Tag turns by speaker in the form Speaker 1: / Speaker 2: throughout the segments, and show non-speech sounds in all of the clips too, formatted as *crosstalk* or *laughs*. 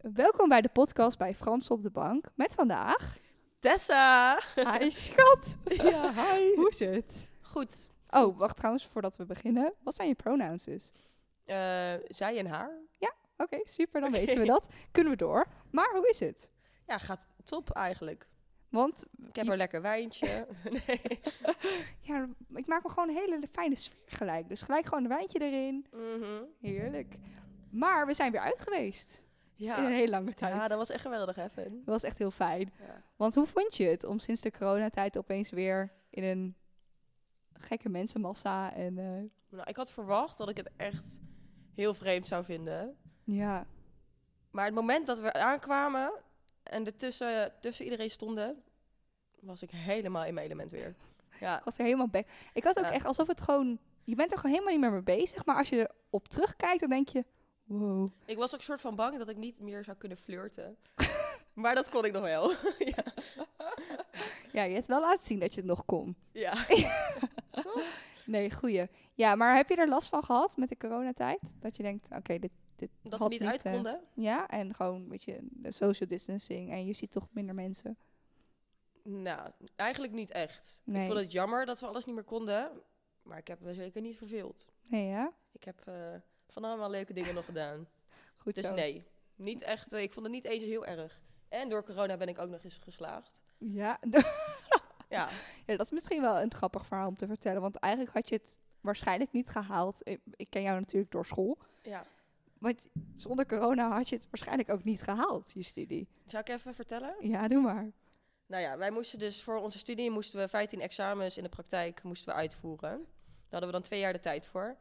Speaker 1: Welkom bij de podcast bij Frans op de Bank met vandaag.
Speaker 2: Tessa!
Speaker 1: Hi, *laughs* schat.
Speaker 2: Ja, *laughs* hi.
Speaker 1: Hoe is het?
Speaker 2: Goed.
Speaker 1: Oh, wacht trouwens, voordat we beginnen. Wat zijn je pronouns dus?
Speaker 2: Eh, zij en haar.
Speaker 1: Oké, super, dan
Speaker 2: Oké.
Speaker 1: weten we dat. Kunnen we door. Maar hoe is het?
Speaker 2: Ja, gaat top eigenlijk.
Speaker 1: Want
Speaker 2: Ik heb een lekker wijntje. nee.
Speaker 1: ja, ik maak me gewoon een hele fijne sfeer gelijk. Dus gelijk gewoon een wijntje erin.
Speaker 2: *laughs* Mhm.
Speaker 1: Heerlijk. Maar we zijn weer uit geweest. In een
Speaker 2: Ja.
Speaker 1: hele lange tijd.
Speaker 2: ja, dat
Speaker 1: dat...
Speaker 2: was echt geweldig, even.
Speaker 1: was echt heel fijn.
Speaker 2: Ja.
Speaker 1: Want hoe vond je het om sinds de coronatijd opeens weer in een gekke mensenmassa en... eh,
Speaker 2: Nou, ik had verwacht dat ik het echt heel vreemd zou vinden.
Speaker 1: ja,
Speaker 2: Maar het moment dat we aankwamen en er tussen, tussen iedereen stonden, was ik helemaal in mijn element weer. Ja,
Speaker 1: Ik was er helemaal back. Ik had ook
Speaker 2: Ja.
Speaker 1: echt alsof het gewoon... Je bent er gewoon helemaal niet meer mee bezig. Maar als je erop terugkijkt, dan denk je... Wow.
Speaker 2: ik was ook soort van bang dat ik niet meer zou kunnen *laughs* flirten. maar dat kon ik nog wel. ja.
Speaker 1: Ja, je hebt wel laten zien dat je het nog kon.
Speaker 2: ja.
Speaker 1: Nee, goeie. Ja, maar heb je er last van gehad met de coronatijd? Dat je denkt, oké, dit, dit
Speaker 2: Dat we
Speaker 1: had
Speaker 2: niet uit
Speaker 1: eh,
Speaker 2: konden.
Speaker 1: ja, en gewoon weet je de social distancing. En je ziet toch minder mensen.
Speaker 2: Nou, eigenlijk niet echt.
Speaker 1: Nee.
Speaker 2: Ik vond het jammer dat we alles niet meer konden. Maar ik heb me zeker niet verveeld.
Speaker 1: Nee, ja?
Speaker 2: Ik heb eh, van allemaal leuke dingen nog gedaan.
Speaker 1: *laughs* Goed
Speaker 2: Dus
Speaker 1: zo.
Speaker 2: nee, niet echt. eh, ik vond het niet eens heel erg. En door corona ben ik ook nog eens geslaagd.
Speaker 1: Ja, *laughs*
Speaker 2: Ja,
Speaker 1: Ja, dat is misschien wel een grappig verhaal om te vertellen. Want eigenlijk had je het waarschijnlijk niet gehaald. Ik, ik ken jou natuurlijk door school.
Speaker 2: ja.
Speaker 1: Want zonder corona had je het waarschijnlijk ook niet gehaald, je studie.
Speaker 2: Zou ik even vertellen?
Speaker 1: Ja, doe maar.
Speaker 2: Nou ja, wij moesten dus voor onze studie moesten we 15 examens in de praktijk moesten we uitvoeren. Daar hadden we dan twee jaar de tijd voor.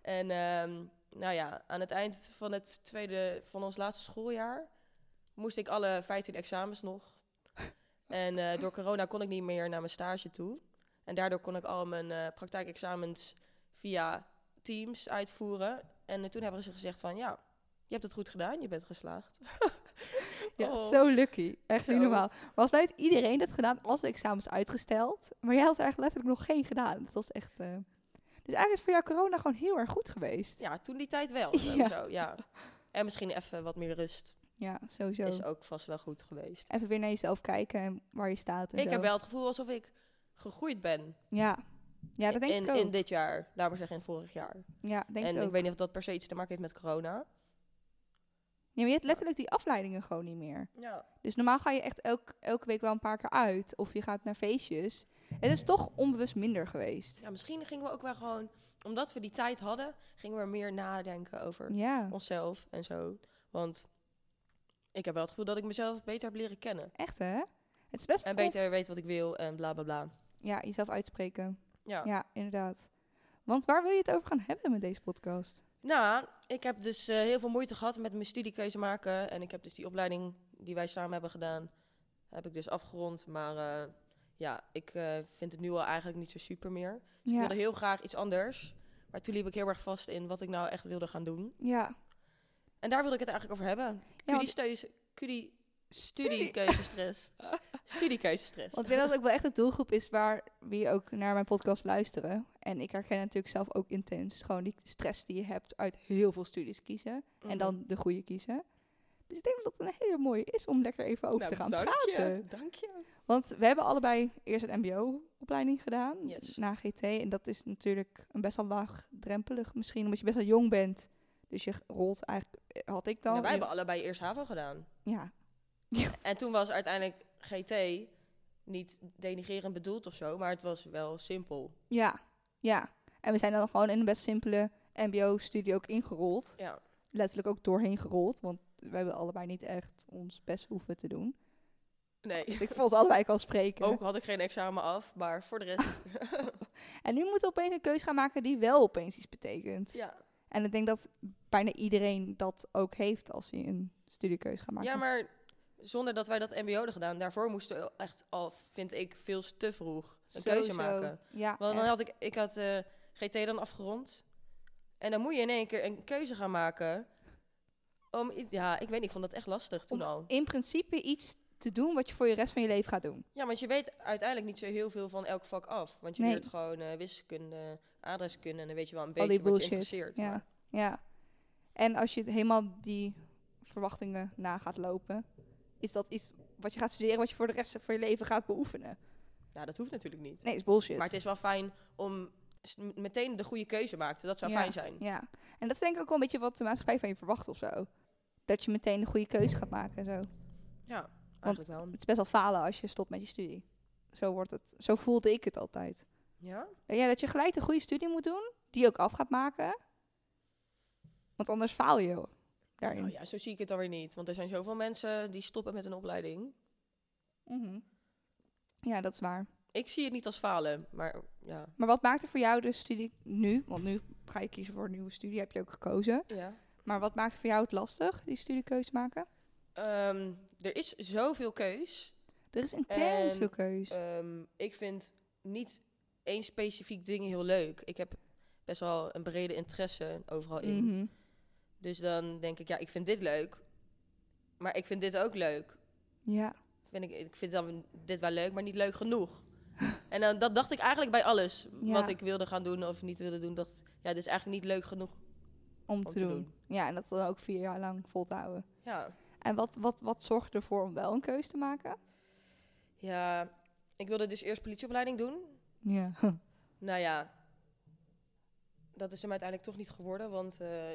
Speaker 2: En ehm, nou ja, aan het eind van het tweede van ons laatste schooljaar moest ik alle 15 examens nog. En eh, door corona kon ik niet meer naar mijn stage toe. En daardoor kon ik al mijn eh, praktijkexamens via Teams uitvoeren. En eh, toen hebben ze gezegd van ja, je hebt het goed gedaan, je bent geslaagd. *laughs*
Speaker 1: Ja,
Speaker 2: Oh.
Speaker 1: zo lucky. Echt niet
Speaker 2: Zo.
Speaker 1: normaal. Was buiten iedereen dat gedaan, als de examens uitgesteld. Maar jij had er eigenlijk letterlijk nog geen gedaan. Dat was echt... eh, Dus eigenlijk is voor jou corona gewoon heel erg goed geweest.
Speaker 2: Ja, toen die tijd
Speaker 1: *laughs*
Speaker 2: wel. Zo,
Speaker 1: Ja.
Speaker 2: zo, ja. En misschien even wat meer rust.
Speaker 1: Ja, sowieso.
Speaker 2: Is ook vast wel goed geweest.
Speaker 1: Even weer naar jezelf kijken en waar je staat en
Speaker 2: ik
Speaker 1: zo.
Speaker 2: heb wel het gevoel alsof ik gegroeid ben.
Speaker 1: Ja, ja dat denk
Speaker 2: in,
Speaker 1: ik ook.
Speaker 2: in dit jaar, laat maar zeggen in vorig jaar.
Speaker 1: Ja, denk
Speaker 2: en
Speaker 1: ik
Speaker 2: ik
Speaker 1: ook.
Speaker 2: weet niet of dat per se iets te maken heeft met corona.
Speaker 1: Ja, maar je hebt letterlijk die afleidingen gewoon niet meer.
Speaker 2: Ja.
Speaker 1: Dus normaal ga je echt elk, elke week wel een paar keer uit. Of je gaat naar feestjes. Het is toch onbewust minder geweest.
Speaker 2: ja, misschien gingen we ook wel gewoon, omdat we die tijd hadden, gingen we er meer nadenken over
Speaker 1: Ja,
Speaker 2: onszelf en zo. Want ik heb wel het gevoel dat ik mezelf beter heb leren kennen.
Speaker 1: echt hè? Het is best
Speaker 2: En
Speaker 1: conf-
Speaker 2: beter weet wat ik wil en bla bla bla.
Speaker 1: Ja, jezelf uitspreken.
Speaker 2: Ja.
Speaker 1: Ja, inderdaad. Want waar wil je het over gaan hebben met deze podcast?
Speaker 2: Nou, ik heb dus eh, heel veel moeite gehad met mijn studiekeuze maken. En ik heb dus die opleiding die wij samen hebben gedaan, heb ik dus afgerond. Maar eh, ja, ik eh, vind het nu al eigenlijk niet zo super meer. Ik
Speaker 1: Ja,
Speaker 2: wilde heel graag iets anders. Maar toen liep ik heel erg vast in wat ik nou echt wilde gaan doen.
Speaker 1: ja.
Speaker 2: En daar wilde ik het eigenlijk over hebben.
Speaker 1: ja want,
Speaker 2: Studie, studie,
Speaker 1: Studie. *laughs*
Speaker 2: studiekeuzestress. Studiekeuzestress.
Speaker 1: want ik denk dat het ook wel echt een doelgroep is waar wie ook naar mijn podcast luisteren. En ik herken natuurlijk zelf ook intens. Gewoon die stress die je hebt uit heel veel studies kiezen.
Speaker 2: Mhm.
Speaker 1: En dan de goede kiezen. Dus ik denk dat het een hele mooie is om lekker even over
Speaker 2: Nou,
Speaker 1: te gaan
Speaker 2: dank
Speaker 1: praten.
Speaker 2: Je, dank je.
Speaker 1: Want we hebben allebei eerst een MBO-opleiding gedaan
Speaker 2: Yes.
Speaker 1: na GT. En dat is natuurlijk een best wel laagdrempelig. Misschien omdat je best wel jong bent. Dus je rolt eigenlijk, eh, had ik dan.
Speaker 2: Nou, wij hebben allebei eerst HAVO gedaan.
Speaker 1: Ja,
Speaker 2: En toen was uiteindelijk GT niet denigerend bedoeld of zo, maar het was wel simpel.
Speaker 1: ja, ja. En we zijn dan gewoon in een best simpele MBO-studie ook ingerold.
Speaker 2: Ja.
Speaker 1: Letterlijk ook doorheen gerold. Want we hebben allebei niet echt ons best hoeven te doen. *laughs*
Speaker 2: Nee.
Speaker 1: Dus ik vond het allebei kan spreken.
Speaker 2: Ook had ik geen examen af, maar voor de rest.
Speaker 1: En nu moeten we opeens een keuze gaan maken die wel opeens iets betekent.
Speaker 2: ja.
Speaker 1: En ik denk dat bijna iedereen dat ook heeft als hij een studiekeuze gaat maken.
Speaker 2: ja, maar zonder dat wij dat MBO hadden gedaan, daarvoor moesten we echt al, vind ik, veel te vroeg een keuze
Speaker 1: Sowieso.
Speaker 2: maken.
Speaker 1: Ja,
Speaker 2: Want dan
Speaker 1: echt.
Speaker 2: had ik, ik had eh, GT dan afgerond. En dan moet je in één keer een keuze gaan maken. Om, i- ja, ik weet niet, ik vond dat echt lastig toen
Speaker 1: Om-
Speaker 2: al.
Speaker 1: in principe iets te doen wat je voor je rest van je leven gaat doen.
Speaker 2: Ja, want je weet uiteindelijk niet zo heel veel van elk vak af. Want je
Speaker 1: Nee.
Speaker 2: leert gewoon eh, wiskunde, adreskunde en dan weet je wel een
Speaker 1: Al die
Speaker 2: beetje wat je
Speaker 1: bullshit,
Speaker 2: interesseert.
Speaker 1: ja.
Speaker 2: maar-
Speaker 1: Ja. En als je helemaal die v- verwachtingen na gaat lopen, is dat iets wat je gaat studeren, wat je voor de rest van je leven gaat beoefenen.
Speaker 2: Nou, dat hoeft natuurlijk niet.
Speaker 1: Nee, is bullshit.
Speaker 2: Maar het is wel fijn om s- m- meteen de goede keuze maken. Dat zou
Speaker 1: Ja.
Speaker 2: fijn zijn.
Speaker 1: Ja, en dat is denk ik ook wel een beetje wat de maatschappij van je verwacht of zo. Dat je meteen de goede keuze gaat maken en zo.
Speaker 2: Ja, eigenlijk wel.
Speaker 1: Het is best wel falen als je stopt met je studie. Zo, wordt het, zo voelde ik het altijd.
Speaker 2: Ja?
Speaker 1: En Eh, ja, dat je gelijk de goede studie moet doen, die je ook af gaat maken. Want anders faal je daarin.
Speaker 2: Nou ja, zo zie ik het dan weer niet. Want er zijn zoveel mensen die stoppen met een opleiding.
Speaker 1: Mhm. ja, dat is waar.
Speaker 2: Ik zie het niet als falen, maar ja.
Speaker 1: Maar wat maakte voor jou de studie nu? Want nu ga je kiezen voor een nieuwe studie, heb je ook gekozen.
Speaker 2: ja.
Speaker 1: Maar wat maakte voor jou het lastig, die studiekeuze maken?
Speaker 2: Ehm, er is zoveel keus.
Speaker 1: Er is intens
Speaker 2: En,
Speaker 1: veel keus.
Speaker 2: Ehm, ik vind niet één specifiek ding heel leuk. Ik heb best wel een brede interesse overal in.
Speaker 1: Mhm.
Speaker 2: Dus dan denk ik, ja, ik vind dit leuk. Maar ik vind dit ook leuk.
Speaker 1: Ja.
Speaker 2: Vind ik, ik vind dan dit wel leuk, maar niet leuk
Speaker 1: *laughs*
Speaker 2: genoeg. en dan, dat dacht ik eigenlijk bij alles.
Speaker 1: Ja.
Speaker 2: Wat ik wilde gaan doen of niet wilde doen. Dacht, ja, dit is eigenlijk niet leuk genoeg om,
Speaker 1: om te,
Speaker 2: te
Speaker 1: doen.
Speaker 2: doen.
Speaker 1: Ja, en dat dan ook vier jaar lang vol te houden.
Speaker 2: Ja.
Speaker 1: En wat, wat, wat zorgt ervoor om wel een keuze te maken?
Speaker 2: ja, ik wilde dus eerst politieopleiding doen.
Speaker 1: Ja.
Speaker 2: Nou ja, dat is hem uiteindelijk toch niet geworden, want eh,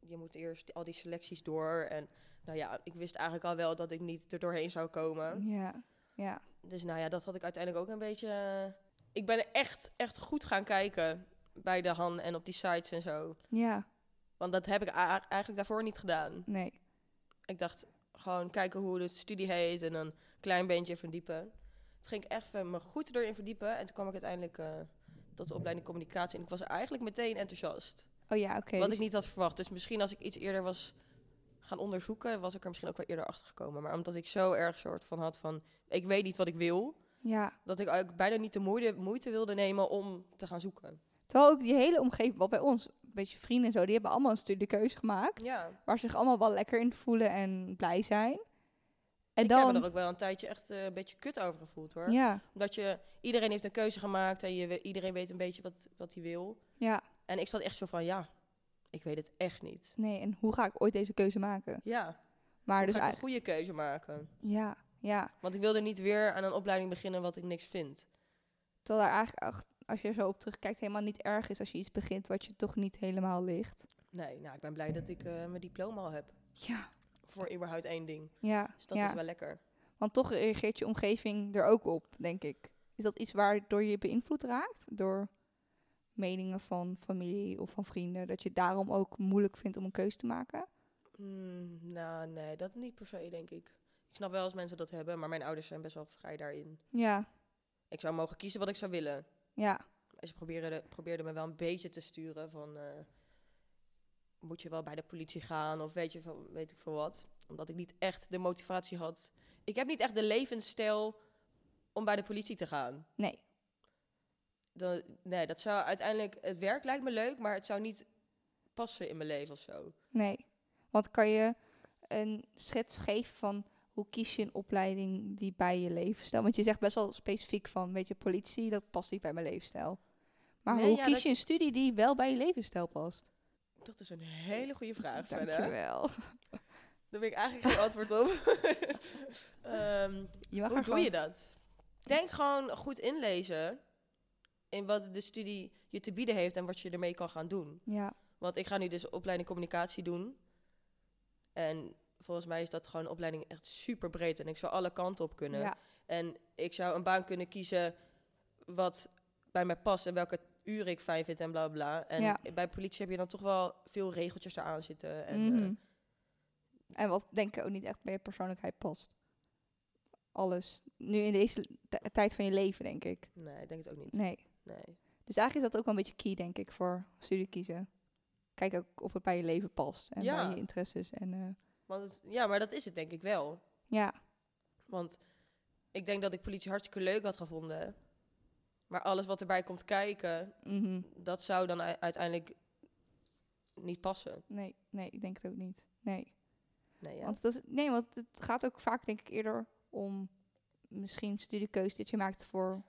Speaker 2: je moet eerst al die selecties door. En nou ja, ik wist eigenlijk al wel dat ik niet er doorheen zou komen.
Speaker 1: *laughs* Ja. Ja.
Speaker 2: Dus nou ja, dat had ik uiteindelijk ook een beetje... eh, ik ben echt, echt goed gaan kijken bij de Han en op die sites en zo.
Speaker 1: Ja.
Speaker 2: Want dat heb ik a- eigenlijk daarvoor niet gedaan.
Speaker 1: Nee.
Speaker 2: Ik dacht gewoon kijken hoe de studie heet en dan een klein beetje verdiepen. Toen ging ik echt even me goed erin verdiepen en toen kwam ik uiteindelijk eh, tot de opleiding communicatie. En ik was eigenlijk meteen enthousiast.
Speaker 1: Oh ja, oké.
Speaker 2: Wat
Speaker 1: dus-
Speaker 2: ik niet had verwacht. Dus misschien als ik iets eerder was gaan onderzoeken, was ik er misschien ook wel eerder achter gekomen. Maar omdat ik zo erg soort van had van, ik weet niet wat ik wil,
Speaker 1: Ja.
Speaker 2: dat ik ook bijna niet de moeite, moeite wilde nemen om te gaan zoeken.
Speaker 1: Terwijl ook die hele omgeving, wat bij ons, een beetje vrienden en zo, die hebben allemaal een studiekeuze gemaakt.
Speaker 2: Ja.
Speaker 1: Waar ze zich allemaal wel lekker in voelen en blij zijn. En
Speaker 2: ik heb
Speaker 1: dan.
Speaker 2: me er ook wel een tijdje echt eh, een beetje kut over gevoeld hoor.
Speaker 1: ja.
Speaker 2: Omdat je, iedereen heeft een keuze gemaakt en je, we- iedereen weet een beetje wat, wat hij wil.
Speaker 1: Ja.
Speaker 2: En ik zat echt zo van, ja, ik weet het echt niet.
Speaker 1: Nee, en hoe ga ik ooit deze keuze maken?
Speaker 2: Ja,
Speaker 1: Maar
Speaker 2: dus
Speaker 1: dus
Speaker 2: ga ik
Speaker 1: eigenlijk.
Speaker 2: een goede keuze maken.
Speaker 1: Ja. Ja.
Speaker 2: Want ik wilde niet weer aan een opleiding beginnen wat ik niks vind.
Speaker 1: Terwijl daar eigenlijk, ach- als je er zo op terugkijkt, helemaal niet erg is als je iets begint wat je toch niet helemaal ligt.
Speaker 2: Nee, nou, ik ben blij dat ik eh, mijn diploma al heb.
Speaker 1: Ja.
Speaker 2: Voor überhaupt één ding.
Speaker 1: Ja.
Speaker 2: Dus dat
Speaker 1: ja.
Speaker 2: is wel lekker.
Speaker 1: Want toch reageert je omgeving er ook op, denk ik. Is dat iets waardoor je beïnvloed raakt? Door meningen van familie of van vrienden? Dat je daarom ook moeilijk vindt om een keuze te maken?
Speaker 2: Mm, nou, nee, dat niet per se, denk ik. Ik snap wel als mensen dat hebben, maar mijn ouders zijn best wel vrij daarin.
Speaker 1: Ja,
Speaker 2: Ik zou mogen kiezen wat ik zou willen.
Speaker 1: ja,
Speaker 2: En ze probeerden, probeerden me wel een beetje te sturen van... eh, moet je wel bij de politie gaan of weet, je, veel- weet ik veel wat. Omdat ik niet echt de motivatie had. Ik heb niet echt de levensstijl om bij de politie te gaan.
Speaker 1: nee.
Speaker 2: Dan, nee, dat zou uiteindelijk... Het werk lijkt me leuk, maar het zou niet passen in mijn leven of zo.
Speaker 1: Nee. Want kan je een schets geven van hoe kies je een opleiding die bij je levensstijl? Want je zegt best wel specifiek van, weet je, politie, dat past niet bij mijn levensstijl. Maar
Speaker 2: Nee,
Speaker 1: hoe
Speaker 2: ja,
Speaker 1: kies
Speaker 2: dat-
Speaker 1: je een studie die wel bij je levensstijl past?
Speaker 2: Dat is een hele goede vraag, Fenna.
Speaker 1: Dankjewel.
Speaker 2: Daar ben ik eigenlijk geen antwoord op. *laughs* Ehm,
Speaker 1: Je mag
Speaker 2: hoe
Speaker 1: er
Speaker 2: doe
Speaker 1: gewoon-
Speaker 2: je dat? Denk gewoon goed inlezen in wat de studie je te bieden heeft en wat je ermee kan gaan doen.
Speaker 1: Ja,
Speaker 2: Want ik ga nu dus opleiding communicatie doen. En volgens mij is dat gewoon een opleiding echt super breed en ik zou alle kanten op kunnen.
Speaker 1: ja,
Speaker 2: En ik zou een baan kunnen kiezen wat bij mij past en welke uren ik fijn vind en bla bla. bla. En
Speaker 1: Ja.
Speaker 2: bij politie heb je dan toch wel veel regeltjes eraan zitten. En, eh,
Speaker 1: mhm. eh, En wat denk ik ook niet echt bij je persoonlijkheid past. Alles. Nu in deze t- tijd van je leven, denk ik.
Speaker 2: Nee, ik denk het ook niet.
Speaker 1: Nee.
Speaker 2: Nee.
Speaker 1: Dus eigenlijk is dat ook wel een beetje key, denk ik, voor studie kiezen. Kijk ook of het bij je leven past en
Speaker 2: Ja.
Speaker 1: bij je interesses. En, eh,
Speaker 2: Want het- ja, maar dat is het denk ik wel.
Speaker 1: ja,
Speaker 2: Want ik denk dat ik politie hartstikke leuk had gevonden. Maar alles wat erbij komt kijken,
Speaker 1: mhm.
Speaker 2: dat zou dan u- uiteindelijk niet passen.
Speaker 1: nee, nee, ik denk het ook niet. Nee.
Speaker 2: Nee, ja.
Speaker 1: Want dat, is- nee, want het gaat ook vaak, denk ik, eerder om misschien studiekeuze dat je maakt voor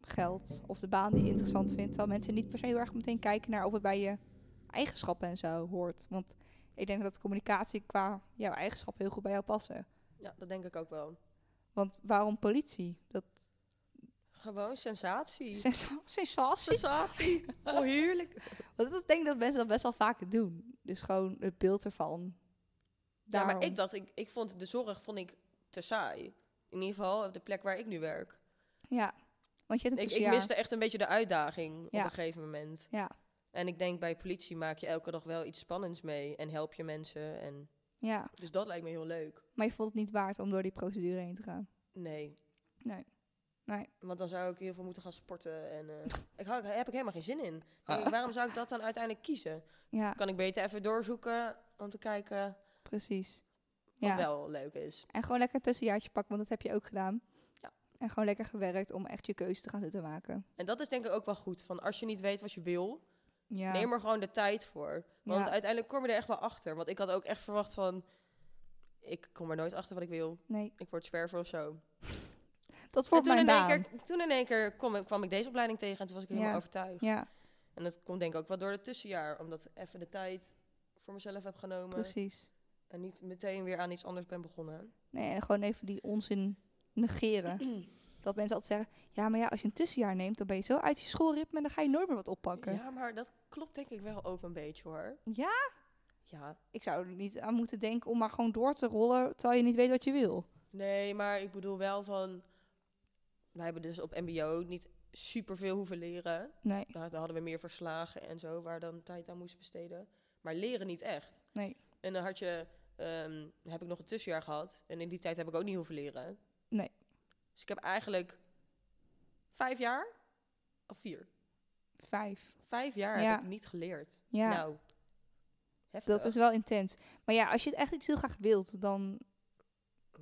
Speaker 1: geld of de baan die je interessant vindt. Terwijl mensen niet per se heel erg meteen kijken naar of het bij je eigenschappen en zo hoort. Want Ik denk dat communicatie qua jouw eigenschap heel goed bij jou passen.
Speaker 2: Ja, dat denk ik ook wel.
Speaker 1: Want waarom politie? Dat
Speaker 2: Gewoon sensatie.
Speaker 1: *laughs* sensa- sensatie.
Speaker 2: Sensatie. Oh, heerlijk.
Speaker 1: Want dat- ik denk dat mensen dat best wel vaak doen. Dus gewoon het beeld ervan.
Speaker 2: Ja, maar
Speaker 1: Daarom.
Speaker 2: ik dacht, ik, ik vond de zorg vond ik te saai. In ieder geval op de plek waar ik nu werk.
Speaker 1: Ja, want je hebt een
Speaker 2: Ik, ik
Speaker 1: tussenjaar.
Speaker 2: miste echt een beetje de uitdaging
Speaker 1: Ja.
Speaker 2: op een gegeven moment.
Speaker 1: Ja.
Speaker 2: En ik denk bij politie maak je elke dag wel iets spannends mee en help je mensen. En,
Speaker 1: Ja,
Speaker 2: dus dat lijkt me heel leuk.
Speaker 1: maar je vond het niet waard om door die procedure heen te gaan.
Speaker 2: Nee.
Speaker 1: Nee. Nee.
Speaker 2: Want dan zou ik heel veel moeten gaan sporten. En eh, ik hou, daar heb ik helemaal geen zin in. Dan denk ik, waarom zou ik dat dan uiteindelijk kiezen?
Speaker 1: Ja,
Speaker 2: Kan ik beter even doorzoeken om te kijken
Speaker 1: precies.
Speaker 2: wat
Speaker 1: Ja.
Speaker 2: wel leuk is.
Speaker 1: En gewoon lekker een tussenjaartje pakken, want dat heb je ook gedaan.
Speaker 2: Ja.
Speaker 1: En gewoon lekker gewerkt om echt je keuze te gaan zitten maken.
Speaker 2: En dat is denk ik ook wel goed. Van als je niet weet wat je wil,
Speaker 1: Ja.
Speaker 2: Neem er gewoon de tijd voor. Want eh,
Speaker 1: Ja.
Speaker 2: uiteindelijk kom je er echt wel achter. Want ik had ook echt verwacht van... Ik kom er nooit achter wat ik wil.
Speaker 1: Nee,
Speaker 2: Ik word zwerver of zo.
Speaker 1: dat
Speaker 2: En
Speaker 1: vond
Speaker 2: toen
Speaker 1: mijn
Speaker 2: in, één
Speaker 1: baan.
Speaker 2: keer, toen in één keer kom, ik- kwam ik deze opleiding tegen en toen was ik helemaal
Speaker 1: Ja.
Speaker 2: overtuigd.
Speaker 1: Ja,
Speaker 2: En dat komt denk ik ook wel door het tussenjaar. Omdat ik even de tijd voor mezelf heb genomen.
Speaker 1: precies.
Speaker 2: En niet meteen weer aan iets anders ben begonnen.
Speaker 1: Nee, en gewoon even die onzin
Speaker 2: *clears throat*
Speaker 1: negeren. dat mensen altijd zeggen, ja, maar ja, als je een tussenjaar neemt, dan ben je zo uit je schoolritme en dan ga je nooit meer wat oppakken. Ja,
Speaker 2: Ja, maar dat klopt denk ik wel ook een beetje hoor. Ja.
Speaker 1: ik zou er niet aan moeten denken om maar gewoon door te rollen, terwijl je niet weet wat je wil.
Speaker 2: Nee, maar ik bedoel wel van... Wij hebben dus op mbo niet superveel hoeven leren.
Speaker 1: Nee,
Speaker 2: Nou, dan hadden we meer verslagen en zo, waar dan tijd aan moest besteden. Maar leren niet echt.
Speaker 1: Nee.
Speaker 2: En dan had je, ehm, heb ik nog een tussenjaar gehad. En in die tijd heb ik ook niet hoeven leren.
Speaker 1: Nee.
Speaker 2: Dus ik heb eigenlijk vijf jaar, of vier,
Speaker 1: vijf.
Speaker 2: vijf jaar
Speaker 1: Ja.
Speaker 2: heb ik niet geleerd.
Speaker 1: Ja,
Speaker 2: Nou, eh. heftig.
Speaker 1: dat is wel intens. Maar ja, als je het echt iets heel graag wilt, dan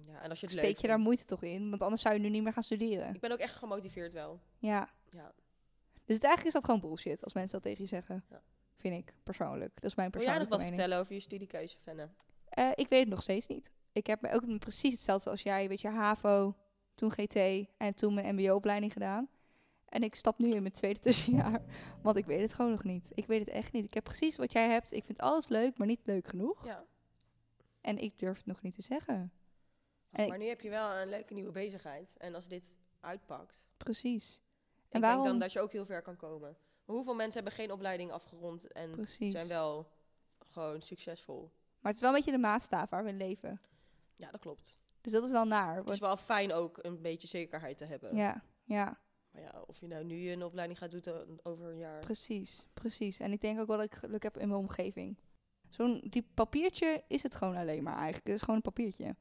Speaker 2: ja, en als je het leuk
Speaker 1: steek je daar
Speaker 2: vindt.
Speaker 1: moeite toch in, want anders zou je nu niet meer gaan studeren.
Speaker 2: Ik ben ook echt gemotiveerd wel.
Speaker 1: Ja.
Speaker 2: Ja.
Speaker 1: Dus het, eigenlijk is dat gewoon bullshit als mensen dat tegen je zeggen.
Speaker 2: Ja.
Speaker 1: Vind ik persoonlijk. Dat is mijn
Speaker 2: Wil jij
Speaker 1: persoonlijke
Speaker 2: nog wat
Speaker 1: mening.
Speaker 2: vertellen over je studiekeuze, Fenne?
Speaker 1: Eh, ik weet het nog steeds niet. Ik heb me ook precies hetzelfde als jij. Weet je, HAVO, toen GT en toen mijn MBO-opleiding gedaan. En ik stap nu in mijn tweede *laughs* tussenjaar. Want ik weet het gewoon nog niet. Ik weet het echt niet. Ik heb precies wat jij hebt. Ik vind alles leuk, maar niet leuk genoeg.
Speaker 2: Ja.
Speaker 1: En ik durf het nog niet te zeggen. En ik-
Speaker 2: Maar nu heb je wel een leuke nieuwe bezigheid. En als dit uitpakt,
Speaker 1: Precies.
Speaker 2: En ik
Speaker 1: waarom-
Speaker 2: denk dan dat je ook heel ver kan komen. Maar hoeveel mensen hebben geen opleiding afgerond en
Speaker 1: Precies.
Speaker 2: zijn wel gewoon succesvol?
Speaker 1: Maar het is wel een beetje de maatstaf waar we leven.
Speaker 2: Ja, dat klopt.
Speaker 1: Dus dat is wel naar.
Speaker 2: Het is
Speaker 1: Want,
Speaker 2: eh, wel fijn ook een beetje zekerheid te hebben.
Speaker 1: ja, ja,
Speaker 2: Maar ja, of je nou nu een opleiding gaat doen dan over een jaar.
Speaker 1: precies. Precies. En ik denk ook wel dat ik geluk heb in mijn omgeving. Zo'n die papiertje is het gewoon alleen maar eigenlijk. Het is gewoon een papiertje.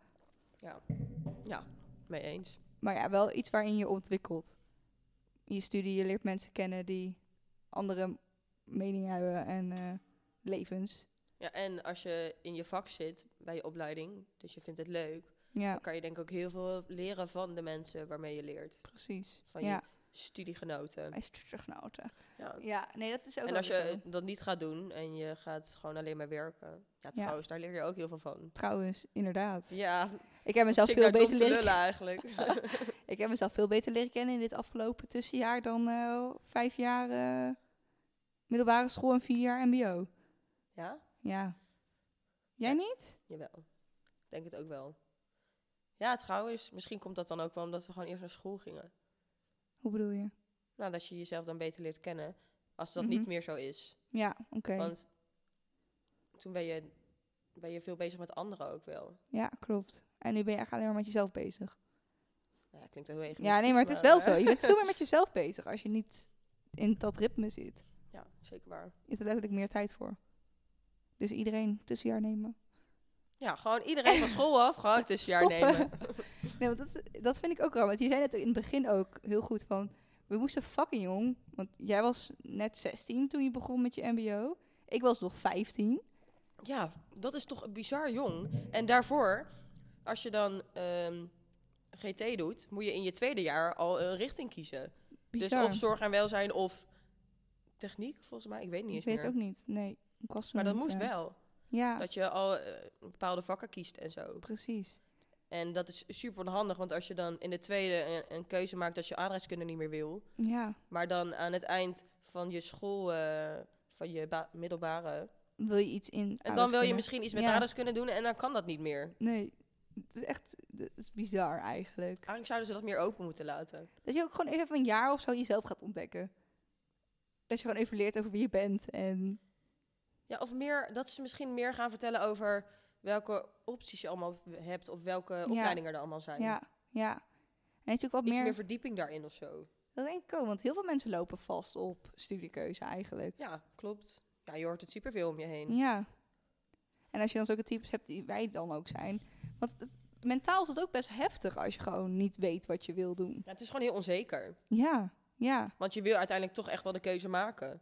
Speaker 2: Ja, mee eens.
Speaker 1: Maar ja, wel iets waarin je ontwikkelt. Je studie, je leert mensen kennen die andere meningen hebben en eh, levens.
Speaker 2: Ja, en als je in je vak zit bij je opleiding, dus je vindt het leuk,
Speaker 1: Ja,
Speaker 2: dan kan je denk ik ook heel veel leren van de mensen waarmee je leert.
Speaker 1: precies.
Speaker 2: Van
Speaker 1: ja,
Speaker 2: je studiegenoten.
Speaker 1: hij is teruggenoten.
Speaker 2: Ja.
Speaker 1: Ja, nee, dat is ook
Speaker 2: En
Speaker 1: wel
Speaker 2: als
Speaker 1: weer
Speaker 2: je
Speaker 1: zo.
Speaker 2: dat niet gaat doen en je gaat gewoon alleen maar werken, ja, trouwens, daar leer je ook heel veel van.
Speaker 1: Trouwens, inderdaad.
Speaker 2: Ja,
Speaker 1: Ik heb mezelf
Speaker 2: Zit
Speaker 1: veel
Speaker 2: daar Tom
Speaker 1: beter
Speaker 2: te
Speaker 1: leren
Speaker 2: lullen eigenlijk.
Speaker 1: *laughs* Ik heb mezelf veel beter leren kennen in dit afgelopen tussenjaar dan eh, vijf jaar eh, middelbare school en vier jaar MBO.
Speaker 2: ja?
Speaker 1: Ja. Jij
Speaker 2: Ja.
Speaker 1: niet?
Speaker 2: Jawel. Ik Denk het ook wel. Ja, trouwens, misschien komt dat dan ook wel omdat we gewoon eerst naar school gingen.
Speaker 1: Hoe bedoel je?
Speaker 2: Nou, dat je jezelf dan beter leert kennen. Als dat niet
Speaker 1: Mhm.
Speaker 2: meer zo is.
Speaker 1: Ja, oké.
Speaker 2: Want toen ben je, ben je veel bezig met anderen ook wel.
Speaker 1: Ja, klopt. En nu ben je echt alleen maar met jezelf bezig.
Speaker 2: Nou, ja, klinkt wel heel erg.
Speaker 1: Ja, nee, maar het is wel zo. Je bent veel meer met jezelf bezig als je niet in dat ritme zit.
Speaker 2: Ja, zeker waar.
Speaker 1: Je hebt er letterlijk meer tijd voor. Dus iedereen tussenjaar nemen.
Speaker 2: Ja, gewoon iedereen van school af, gewoon tussenjaar
Speaker 1: *laughs* Stoppen.
Speaker 2: nemen.
Speaker 1: Nee, want dat, dat vind ik ook wel. Want je zei net in het begin ook heel goed van... We moesten fucking jong. Want jij was net 16 toen je begon met je mbo. Ik was nog 15.
Speaker 2: Ja, dat is toch bizar jong. En daarvoor, als je dan ehm, GT doet, moet je in je tweede jaar al een richting kiezen.
Speaker 1: Bizar.
Speaker 2: Dus of zorg en welzijn of techniek, volgens mij. Ik weet niet
Speaker 1: ik
Speaker 2: eens
Speaker 1: weet
Speaker 2: meer.
Speaker 1: het ook niet. Nee, ik was er
Speaker 2: maar dat
Speaker 1: niet,
Speaker 2: moest
Speaker 1: eh.
Speaker 2: wel.
Speaker 1: Ja,
Speaker 2: Dat je al eh, bepaalde vakken kiest en zo.
Speaker 1: precies.
Speaker 2: En dat is super handig, want als je dan in de tweede een, een keuze maakt dat je aardrijkskunde niet meer wil.
Speaker 1: Ja.
Speaker 2: Maar dan aan het eind van je school, eh, van je ba- middelbare,
Speaker 1: wil je iets in.
Speaker 2: En dan wil je
Speaker 1: aardrijkskunde.
Speaker 2: misschien iets met
Speaker 1: Ja.
Speaker 2: aardrijkskunde kunnen doen en dan kan dat niet meer.
Speaker 1: Nee, het is echt het is bizar eigenlijk.
Speaker 2: Eigenlijk zouden ze dat meer open moeten laten.
Speaker 1: Dat je ook gewoon eerst even een jaar of zo jezelf gaat ontdekken. Dat je gewoon even leert over wie je bent en
Speaker 2: Ja, of meer, dat ze misschien meer gaan vertellen over welke opties je allemaal hebt of welke opleidingen er allemaal zijn.
Speaker 1: ja, ja. En dat je ook wat
Speaker 2: Iets meer...
Speaker 1: meer,
Speaker 2: verdieping daarin of zo.
Speaker 1: dat denk ik ook, want heel veel mensen lopen vast op studiekeuze eigenlijk.
Speaker 2: Ja, klopt. Ja, je hoort het superveel om je heen.
Speaker 1: Ja. En als je dan zulke types hebt die wij dan ook zijn, want het- mentaal is het ook best heftig als je gewoon niet weet wat je wil doen.
Speaker 2: Ja, het is gewoon heel onzeker.
Speaker 1: Ja, ja.
Speaker 2: Want je wil uiteindelijk toch echt wel de keuze maken.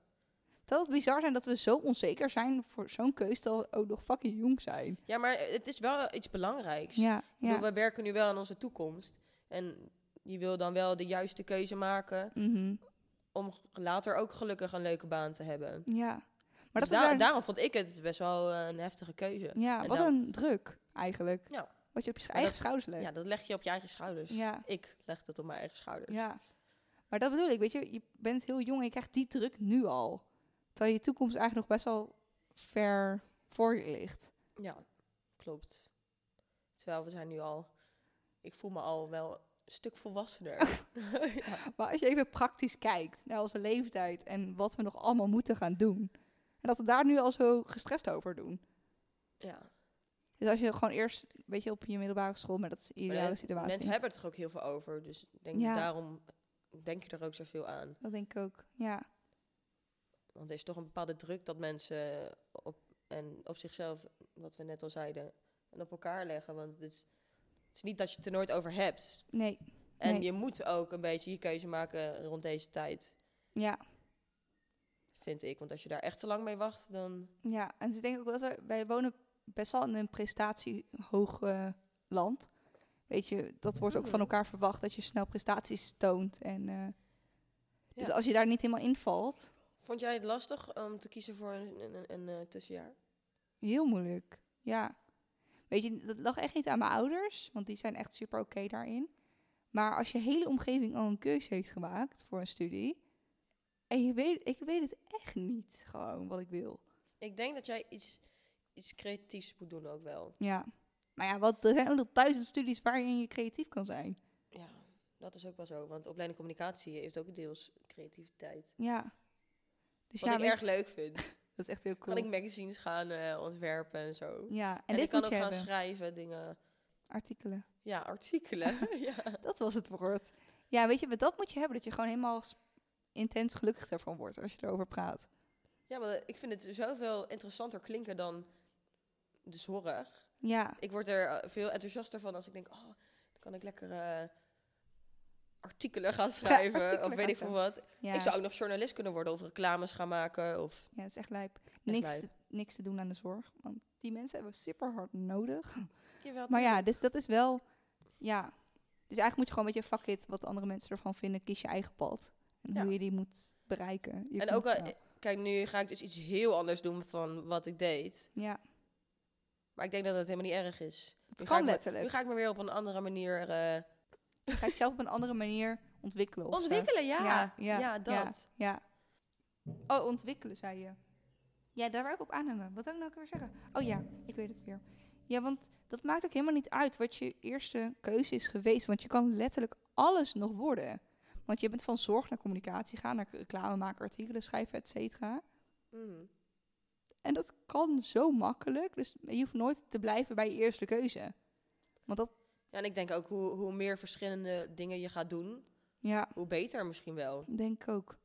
Speaker 1: Dat het bizar zijn dat we zo onzeker zijn voor zo'n keuze dat we ook nog fucking jong zijn.
Speaker 2: Ja, maar het is wel iets belangrijks.
Speaker 1: Ja,
Speaker 2: Ik bedoel,
Speaker 1: ja.
Speaker 2: We werken nu wel aan onze toekomst. En je wil dan wel de juiste keuze maken
Speaker 1: Mhm.
Speaker 2: om g- later ook gelukkig een leuke baan te hebben.
Speaker 1: Ja. Maar
Speaker 2: Dus
Speaker 1: dat is
Speaker 2: da-
Speaker 1: daar-
Speaker 2: daarom vond ik het best wel eh, een heftige keuze.
Speaker 1: Ja,
Speaker 2: en
Speaker 1: wat
Speaker 2: dan-
Speaker 1: een druk eigenlijk.
Speaker 2: Ja.
Speaker 1: Wat je op je
Speaker 2: dat-
Speaker 1: eigen schouders legt.
Speaker 2: Ja, dus- dat leg je op je eigen schouders.
Speaker 1: Ja.
Speaker 2: Ik leg dat op mijn eigen schouders.
Speaker 1: Ja. Maar dat bedoel ik, weet je, je bent heel jong en je krijgt die druk nu al. Terwijl je toekomst eigenlijk nog best wel ver voor je ligt.
Speaker 2: Ja, klopt. Terwijl we zijn nu al... Ik voel me al wel een stuk
Speaker 1: *laughs*
Speaker 2: volwassener. ja.
Speaker 1: Maar als je even praktisch kijkt naar onze leeftijd en wat we nog allemaal moeten gaan doen. En dat we daar nu al zo gestrest over doen.
Speaker 2: ja.
Speaker 1: Dus als je gewoon eerst, weet je, op je middelbare school, maar dat is de
Speaker 2: Maar
Speaker 1: ideale
Speaker 2: dat-
Speaker 1: situatie.
Speaker 2: Mensen hebben het er ook heel veel over. Dus ik denk
Speaker 1: Ja.
Speaker 2: daarom denk je er ook zoveel aan.
Speaker 1: Dat denk ik ook, ja.
Speaker 2: Want er is toch een bepaalde druk dat mensen op, en op zichzelf, wat we net al zeiden, en op elkaar leggen. Want het is, het is niet dat je het er nooit over hebt.
Speaker 1: Nee,
Speaker 2: En
Speaker 1: Nee.
Speaker 2: je moet ook een beetje je keuze maken rond deze tijd,
Speaker 1: ja.
Speaker 2: vind ik. Want als je daar echt te lang mee wacht, dan...
Speaker 1: Ja, en ik denk ook wel dat we- wij wonen best wel in een prestatiehoog eh, land. Weet je, dat wordt ook van
Speaker 2: Mhm.
Speaker 1: elkaar verwacht dat je snel prestaties toont. En, eh, Dus
Speaker 2: Ja.
Speaker 1: als je daar niet helemaal invalt,
Speaker 2: Vond jij het lastig om te kiezen voor een, een, een, een, eh, tussenjaar?
Speaker 1: heel moeilijk. Ja. Weet je, dat lag echt niet aan mijn ouders, want die zijn echt super oké daarin. Maar als je hele omgeving al een keuze heeft gemaakt voor een studie. En je weet, ik weet het echt niet gewoon wat ik wil.
Speaker 2: Ik denk dat jij iets, iets creatiefs moet doen ook wel.
Speaker 1: Ja. Maar ja, wat, er zijn ook nog duizend studies waarin je creatief kan zijn.
Speaker 2: Ja, dat is ook wel zo. Want opleiding communicatie heeft ook deels creativiteit.
Speaker 1: Ja. Dus
Speaker 2: Wat
Speaker 1: ja,
Speaker 2: ik
Speaker 1: weet
Speaker 2: erg
Speaker 1: je,
Speaker 2: leuk vind.
Speaker 1: dat is echt heel cool.
Speaker 2: Kan ik magazines gaan eh, ontwerpen en zo.
Speaker 1: ja, en,
Speaker 2: En,
Speaker 1: dit
Speaker 2: ik kan
Speaker 1: moet
Speaker 2: ook
Speaker 1: je
Speaker 2: gaan
Speaker 1: hebben.
Speaker 2: schrijven, dingen.
Speaker 1: Artikelen.
Speaker 2: Ja,
Speaker 1: *laughs*
Speaker 2: artikelen. ja.
Speaker 1: Dat was het woord. Ja, weet je, maar dat moet je hebben. Dat je gewoon helemaal s- intens gelukkig ervan wordt als je erover praat.
Speaker 2: ja, maar ik vind het zoveel interessanter klinken dan dus de zorg.
Speaker 1: Ja,
Speaker 2: Ik word er eh, veel enthousiaster van als ik denk, oh, dan kan ik lekker eh,
Speaker 1: *laughs*
Speaker 2: artikelen gaan schrijven.
Speaker 1: artikelen
Speaker 2: of
Speaker 1: gaan
Speaker 2: weet ik veel wat.
Speaker 1: ja.
Speaker 2: Ik zou ook nog journalist kunnen worden of reclames gaan maken. Of
Speaker 1: ja, dat is echt lijp. Niks,
Speaker 2: lijp.
Speaker 1: Te, niks te doen aan de zorg. Want die mensen hebben super hard nodig.
Speaker 2: Jawel,
Speaker 1: Maar ja,
Speaker 2: tuurlijk.
Speaker 1: dus dat is wel. Ja. Dus eigenlijk moet je gewoon met je fuck it wat andere mensen ervan vinden. Kies je eigen pad. En
Speaker 2: Ja.
Speaker 1: hoe je die moet bereiken. Je
Speaker 2: En
Speaker 1: komt
Speaker 2: ook eh, al,
Speaker 1: wel.
Speaker 2: kijk, nu ga ik dus iets heel anders doen van wat ik deed.
Speaker 1: Ja,
Speaker 2: Maar ik denk dat dat helemaal niet erg is.
Speaker 1: het
Speaker 2: Nu ga
Speaker 1: kan
Speaker 2: ik me-
Speaker 1: letterlijk.
Speaker 2: nu ga ik me weer op een andere manier eh,
Speaker 1: ga ik zelf op een andere manier ontwikkelen. of zo.
Speaker 2: ontwikkelen. Ja,
Speaker 1: Ja,
Speaker 2: ja,
Speaker 1: ja,
Speaker 2: dat.
Speaker 1: ja. Ja. Oh, ontwikkelen, zei je. Ja, daar wou ik op aanhangen. Wat wil ik nou ook weer zeggen? Oh ja, ik weet het weer. Ja, want dat maakt ook helemaal niet uit wat je eerste keuze is geweest. Want je kan letterlijk alles nog worden. Want je bent van zorg naar communicatie gaan, naar reclame maken, artikelen schrijven, et cetera.
Speaker 2: Mhm.
Speaker 1: En dat kan zo makkelijk. Dus je hoeft nooit te blijven bij je eerste keuze. Want dat,
Speaker 2: Ja, en ik denk ook hoe, hoe meer verschillende dingen je gaat doen,
Speaker 1: ja,
Speaker 2: hoe beter misschien wel.
Speaker 1: Denk ik ook.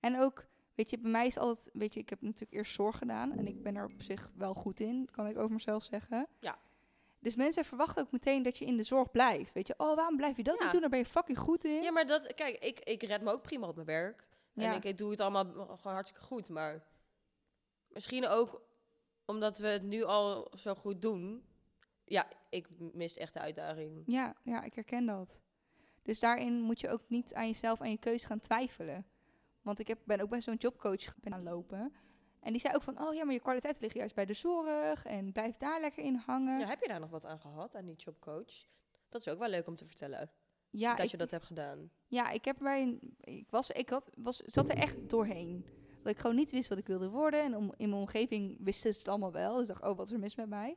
Speaker 1: En ook, weet je, bij mij is altijd, weet je, ik heb natuurlijk eerst zorg gedaan en ik ben er op zich wel goed in, kan ik over mezelf zeggen.
Speaker 2: Ja.
Speaker 1: Dus mensen verwachten ook meteen dat je in de zorg blijft. Weet je, oh, waarom blijf je dat
Speaker 2: Ja.
Speaker 1: niet doen? Daar ben je fucking goed in.
Speaker 2: Ja, maar dat, kijk, ik, ik red me ook prima op mijn werk.
Speaker 1: Ja.
Speaker 2: En ik, ik doe het allemaal b- gewoon hartstikke goed. Maar misschien ook omdat we het nu al zo goed doen. Ja, ik mis echt de uitdaging.
Speaker 1: Ja, ja, ik herken dat. Dus daarin moet je ook niet aan jezelf, aan je keuze gaan twijfelen. Want ik heb, ben ook bij zo'n jobcoach ben gaan lopen. En die zei ook van, oh ja, maar je kwaliteit ligt juist bij de zorg en blijf daar lekker in hangen.
Speaker 2: Ja, heb je daar nog wat aan gehad, aan die jobcoach? Dat is ook wel leuk om te vertellen,
Speaker 1: ja
Speaker 2: dat
Speaker 1: ik-
Speaker 2: je dat hebt gedaan.
Speaker 1: Ja, ik heb bij een. Ik was, ik had, was, zat er echt doorheen. Dat ik gewoon niet wist wat ik wilde worden. En om, in mijn omgeving wisten ze het allemaal wel. Dus ik dacht, oh, wat is er mis met mij?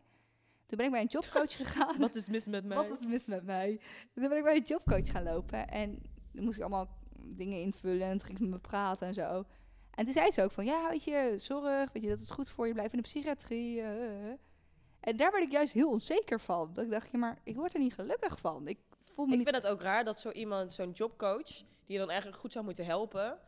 Speaker 1: Toen ben ik bij een
Speaker 2: *laughs*
Speaker 1: jobcoach gegaan.
Speaker 2: *laughs* Wat is mis met mij?
Speaker 1: Wat is mis met mij? Toen ben ik bij een jobcoach gaan lopen. En dan moest ik allemaal dingen invullen. En toen ging ze met me praten en zo. En toen zei ze ook van, ja, weet je, zorg. Weet je, dat is goed voor je. Blijf in de psychiatrie. eh, eh. En daar werd ik juist heel onzeker van. Dat ik dacht, ja, maar ik word er niet gelukkig van. Ik voel me
Speaker 2: Ik
Speaker 1: niet...
Speaker 2: vind het ook raar dat zo iemand, zo'n jobcoach, die je dan eigenlijk goed zou moeten helpen,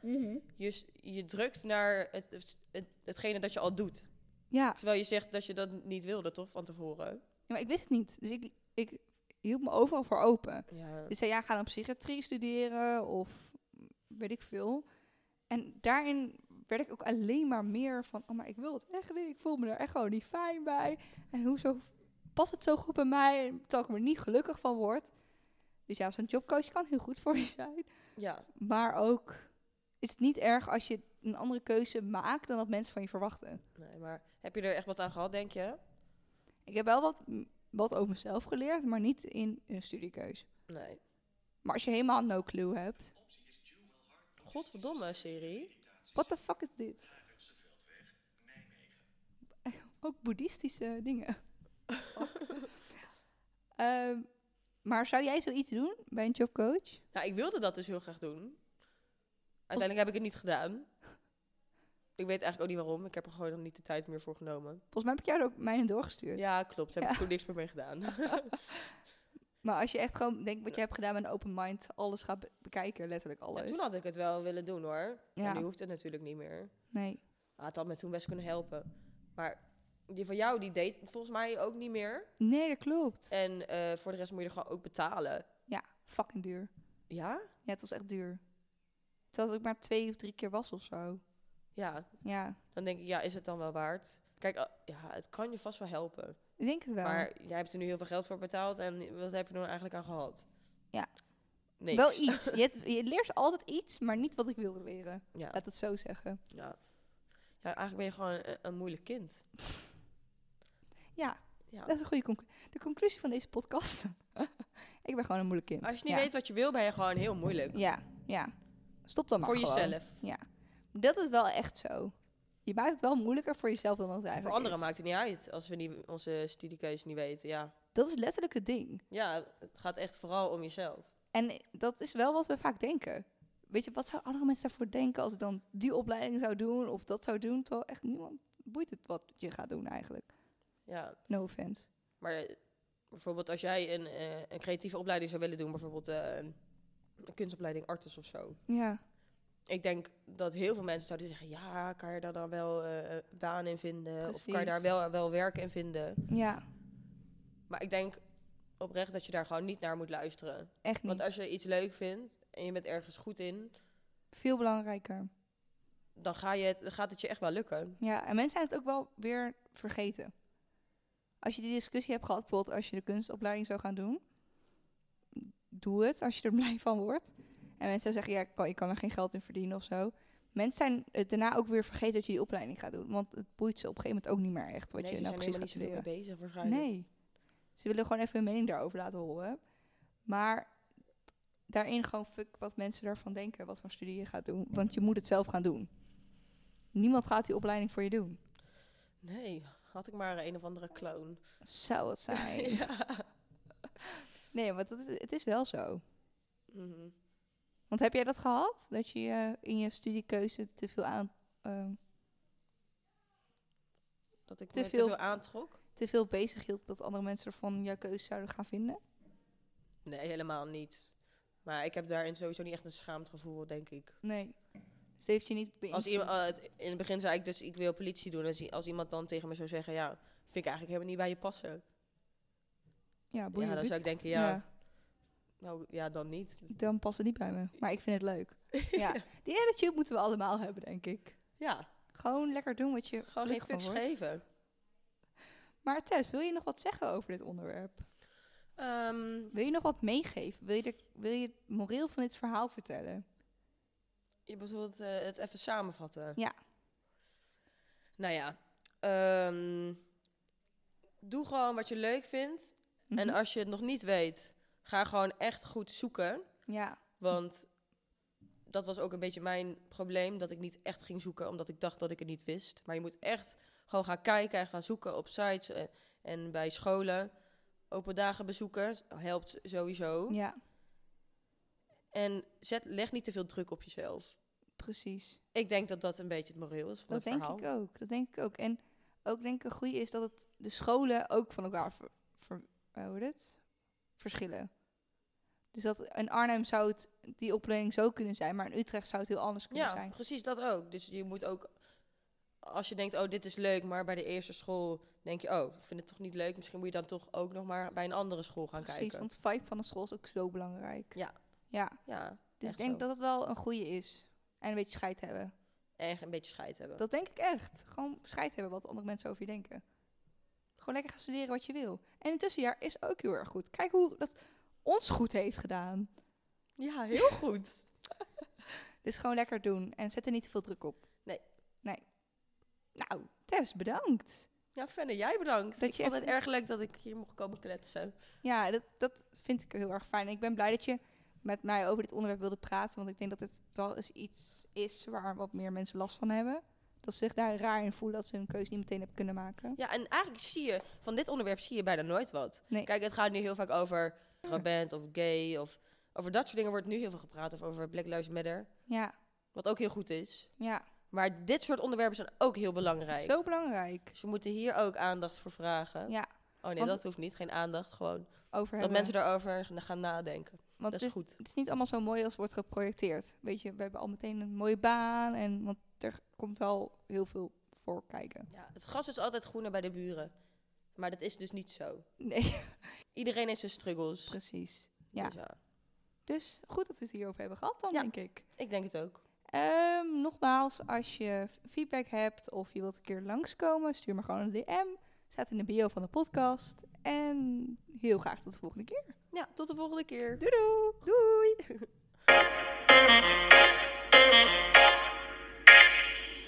Speaker 2: je, s- je drukt naar het, het, het- hetgene dat je al doet.
Speaker 1: Ja,
Speaker 2: Terwijl je zegt dat je dat niet wilde, toch, van tevoren?
Speaker 1: Ja, maar ik wist het niet. Dus ik, ik hield me overal voor open.
Speaker 2: Ja.
Speaker 1: Dus zei, ja, ga dan psychiatrie studeren of weet ik veel. En daarin werd ik ook alleen maar meer van, oh, maar ik wil het echt niet. Ik voel me er echt gewoon niet fijn bij. En hoezo past het zo goed bij mij, terwijl ik er niet gelukkig van word. Dus ja, zo'n jobcoach kan heel goed voor je zijn.
Speaker 2: ja.
Speaker 1: Maar ook is het niet erg als je een andere keuze maakt dan dat mensen van je verwachten.
Speaker 2: Nee, maar heb je er echt wat aan gehad, denk je?
Speaker 1: Ik heb wel wat, wat over mezelf geleerd, maar niet in een studiekeuze.
Speaker 2: Nee.
Speaker 1: Maar als je helemaal no clue hebt,
Speaker 2: Godverdomme, Siri.
Speaker 1: what the fuck is dit? *laughs* Ook boeddhistische dingen. *laughs* Ehm, maar zou jij zoiets doen bij een jobcoach?
Speaker 2: Nou, ik wilde dat dus heel graag doen. Uiteindelijk heb ik het niet gedaan. Ik weet eigenlijk ook niet waarom. Ik heb er gewoon nog niet de tijd meer voor genomen.
Speaker 1: Volgens mij heb ik jou er ook mijne doorgestuurd.
Speaker 2: Ja, klopt. Daar heb ik
Speaker 1: Ja.
Speaker 2: toen niks meer mee
Speaker 1: *laughs*
Speaker 2: gedaan.
Speaker 1: Maar als je echt gewoon denkt wat je hebt gedaan met een open mind, alles gaat be- bekijken, letterlijk
Speaker 2: Ja,
Speaker 1: alles.
Speaker 2: toen had ik het wel willen doen, hoor.
Speaker 1: Ja.
Speaker 2: En nu hoeft het natuurlijk niet meer.
Speaker 1: Nee.
Speaker 2: Ah, het had me toen best kunnen helpen. Maar die van jou, die deed volgens mij ook niet meer.
Speaker 1: Nee, dat klopt.
Speaker 2: En eh, voor de rest moet je er gewoon ook betalen.
Speaker 1: Ja, fucking duur.
Speaker 2: Ja?
Speaker 1: Ja, het was echt duur. Terwijl het ook maar twee of drie keer was of zo.
Speaker 2: Ja.
Speaker 1: Ja,
Speaker 2: Dan denk ik, ja, is het dan wel waard? Kijk, ah, ja, het kan je vast wel helpen.
Speaker 1: ik denk het wel.
Speaker 2: Maar jij hebt er nu heel veel geld voor betaald en wat heb je er nou eigenlijk aan gad?
Speaker 1: Ja.
Speaker 2: Nee.
Speaker 1: Wel
Speaker 2: *laughs*
Speaker 1: iets. Je, hebt- je leert altijd iets, maar niet wat ik wilde leren.
Speaker 2: Ja.
Speaker 1: Laat het zo zeggen.
Speaker 2: ja. Ja, eigenlijk ben je gewoon een, een moeilijk kind.
Speaker 1: Ja,
Speaker 2: Ja.
Speaker 1: dat is een goede conclusie. De conclusie van deze podcast. *laughs* ik ben gewoon een moeilijk kind.
Speaker 2: Als je niet
Speaker 1: ja.
Speaker 2: weet wat je wil, ben je gewoon heel moeilijk.
Speaker 1: Ja, ja. Stop dan maar
Speaker 2: voor
Speaker 1: gewoon.
Speaker 2: jezelf.
Speaker 1: Ja. Dat is wel echt zo. Je maakt het wel moeilijker voor jezelf dan dat het
Speaker 2: Voor
Speaker 1: eigenlijk
Speaker 2: anderen
Speaker 1: is.
Speaker 2: maakt het niet uit als we niet, onze studiekeuze niet weten. Ja.
Speaker 1: Dat is letterlijk het ding.
Speaker 2: ja, het gaat echt vooral om jezelf.
Speaker 1: En dat is wel wat we vaak denken. Weet je, wat zouden andere mensen daarvoor denken als ik dan die opleiding zou doen of dat zou doen? Terwijl echt niemand boeit het wat je gaat doen eigenlijk.
Speaker 2: Ja.
Speaker 1: No offense.
Speaker 2: Maar eh, bijvoorbeeld als jij een, eh, een creatieve opleiding zou willen doen, bijvoorbeeld eh, een, een kunstopleiding artis of zo.
Speaker 1: Ja.
Speaker 2: Ik denk dat heel veel mensen zouden zeggen, ja, kan je daar dan wel eh baan in vinden? Of kan je daar
Speaker 1: Precies.
Speaker 2: wel, wel werk in vinden?
Speaker 1: Ja,
Speaker 2: Maar ik denk oprecht dat je daar gewoon niet naar moet luisteren.
Speaker 1: echt niet.
Speaker 2: Want als je iets leuk vindt en je bent ergens goed in,
Speaker 1: Veel belangrijker.
Speaker 2: dan, ga je het, dan gaat het je echt wel lukken.
Speaker 1: Ja, en mensen zijn het ook wel weer vergeten. Als je die discussie hebt gehad, bijvoorbeeld als je de kunstopleiding zou gaan doen, doe het als je er *laughs* blij van wordt. En mensen zeggen, ja, ik kan, ik kan er geen geld in verdienen of zo. Mensen zijn het daarna ook weer vergeten dat je die opleiding gaat doen. Want het boeit ze op een gegeven moment ook niet meer echt wat
Speaker 2: nee,
Speaker 1: je
Speaker 2: ze
Speaker 1: nou
Speaker 2: zijn
Speaker 1: precies
Speaker 2: helemaal
Speaker 1: gaat
Speaker 2: niet
Speaker 1: studeren.
Speaker 2: zoveel mee bezig waarschijnlijk.
Speaker 1: Nee. Ze willen gewoon even hun mening daarover laten horen. Maar daarin gewoon fuck wat mensen daarvan denken, wat voor studie je gaat doen. Want je moet het zelf gaan doen. Niemand gaat die opleiding voor je doen.
Speaker 2: Nee, had ik maar een of andere clown.
Speaker 1: Zou het
Speaker 2: *laughs*
Speaker 1: zijn.
Speaker 2: ja.
Speaker 1: Nee, want dat is- het is wel zo.
Speaker 2: Mhm.
Speaker 1: Want heb jij dat gehad? Dat je eh, in je studiekeuze te veel, aan, ehm,
Speaker 2: Dat ik
Speaker 1: Te
Speaker 2: me te
Speaker 1: veel-
Speaker 2: veel aantrok.
Speaker 1: te veel bezig hield dat andere mensen ervan jouw keuze zouden gaan vinden?
Speaker 2: Nee, helemaal niet. Maar ik heb daarin sowieso niet echt een schaamgevoel, denk ik.
Speaker 1: Nee. Dus heeft je niet
Speaker 2: Als
Speaker 1: beïnvloed?
Speaker 2: iemand, eh, het- in het begin zei ik dus, ik wil politie doen. Als, i- als iemand dan tegen me zou zeggen, ja, vind ik eigenlijk helemaal niet bij je passen.
Speaker 1: Ja, Ah, boeien,
Speaker 2: ja, dan
Speaker 1: Ruud.
Speaker 2: zou ik denken, ja,
Speaker 1: ja,
Speaker 2: nou ja, dan niet.
Speaker 1: dan past het niet bij me. Maar ik vind het leuk. Ja, die attitude moeten we allemaal hebben, denk ik.
Speaker 2: *laughs* Ja,
Speaker 1: Gewoon lekker doen wat je
Speaker 2: gewoon geen
Speaker 1: gelukkig van wordt.
Speaker 2: fucks geven.
Speaker 1: Maar Tess, wil je nog wat zeggen over dit onderwerp?
Speaker 2: Ehm,
Speaker 1: Wil je nog wat meegeven? Wil je, de, wil je het moreel van dit verhaal vertellen?
Speaker 2: je bedoelt eh, het even samenvatten?
Speaker 1: Ja.
Speaker 2: Nou ja, ehm, doe gewoon wat je leuk vindt. En
Speaker 1: Mhm.
Speaker 2: als je het nog niet weet, ga gewoon echt goed zoeken.
Speaker 1: Ja,
Speaker 2: Want dat was ook een beetje mijn probleem, dat ik niet echt ging zoeken, omdat ik dacht dat ik het niet wist. Maar je moet echt gewoon gaan kijken en gaan zoeken op sites eh, en bij scholen. Open dagen bezoeken helpt sowieso.
Speaker 1: Ja,
Speaker 2: En zet, leg niet te veel druk op jezelf.
Speaker 1: precies.
Speaker 2: Ik denk dat dat een beetje het moreel is van
Speaker 1: Dat
Speaker 2: het
Speaker 1: denk
Speaker 2: verhaal.
Speaker 1: ik ook. Dat denk ik ook. En ook denk ik een goede is dat het de scholen ook van elkaar ver, ver- eh, hoe heet het? verschillen. Dus dat in Arnhem zou het die opleiding zo kunnen zijn, maar in Utrecht zou het heel anders kunnen
Speaker 2: Ja,
Speaker 1: zijn.
Speaker 2: precies dat ook. Dus je moet ook, als je denkt, oh, dit is leuk, maar bij de eerste school denk je, oh, ik vind het toch niet leuk. Misschien moet je dan toch ook nog maar bij een andere school gaan
Speaker 1: Precies,
Speaker 2: kijken.
Speaker 1: want de vibe van de school is ook zo belangrijk.
Speaker 2: Ja.
Speaker 1: Ja,
Speaker 2: Ja,
Speaker 1: dus
Speaker 2: echt
Speaker 1: ik denk
Speaker 2: zo.
Speaker 1: dat het wel een goede is. En een beetje scheid hebben.
Speaker 2: en een beetje scheid hebben.
Speaker 1: Dat denk ik echt. Gewoon scheid hebben wat andere mensen over je denken. Gewoon lekker gaan studeren wat je wil. En het tussenjaar is ook heel erg goed. Kijk hoe dat ons goed heeft gedaan.
Speaker 2: Ja, heel goed.
Speaker 1: Dus gewoon lekker doen en zet er niet te veel druk op.
Speaker 2: Nee.
Speaker 1: Nee. Nou, Tess, bedankt.
Speaker 2: Ja, Fenne, jij bedankt.
Speaker 1: Dat
Speaker 2: ik
Speaker 1: je
Speaker 2: vond
Speaker 1: even-
Speaker 2: het erg leuk dat ik hier mocht komen kletsen.
Speaker 1: Ja, dat, dat vind ik heel erg fijn. En ik ben blij dat je met mij over dit onderwerp wilde praten. Want ik denk dat het wel eens iets is waar wat meer mensen last van hebben. Dat ze zich daar raar in voelen dat ze hun keuze niet meteen hebben kunnen maken.
Speaker 2: Ja, en eigenlijk zie je, van dit onderwerp zie je bijna nooit wat.
Speaker 1: Nee.
Speaker 2: Kijk, het gaat nu heel vaak over trabant of gay of over dat soort dingen wordt nu heel veel gepraat. Of over Black Lives Matter,
Speaker 1: Ja,
Speaker 2: wat ook heel goed is.
Speaker 1: ja.
Speaker 2: Maar dit soort onderwerpen zijn ook heel belangrijk.
Speaker 1: Zo belangrijk.
Speaker 2: Dus we moeten hier ook aandacht voor vragen.
Speaker 1: Ja,
Speaker 2: Oh nee,
Speaker 1: want-
Speaker 2: dat hoeft niet. Geen aandacht, gewoon.
Speaker 1: Over
Speaker 2: Dat
Speaker 1: hebben.
Speaker 2: mensen daarover gaan- gaan nadenken.
Speaker 1: Want
Speaker 2: dat
Speaker 1: het
Speaker 2: is
Speaker 1: is,
Speaker 2: goed.
Speaker 1: het is niet allemaal zo mooi als wordt geprojecteerd. Weet je, we hebben al meteen een mooie baan. En, want er komt al heel veel voor kijken.
Speaker 2: Ja, het gras is altijd groener bij de buren. Maar dat is dus niet zo.
Speaker 1: Nee,
Speaker 2: Iedereen heeft zijn struggles.
Speaker 1: precies. ja.
Speaker 2: Dus ja.
Speaker 1: Dus goed dat we het hierover hebben gehad dan,
Speaker 2: Ja.
Speaker 1: denk ik.
Speaker 2: Ik denk het ook.
Speaker 1: Ehm, nogmaals, als je feedback hebt of je wilt een keer langskomen, stuur me gewoon een DM. Staat in de bio van de podcast. En heel graag tot de volgende keer.
Speaker 2: Ja, tot de volgende keer.
Speaker 1: Doei doei!
Speaker 2: Doei!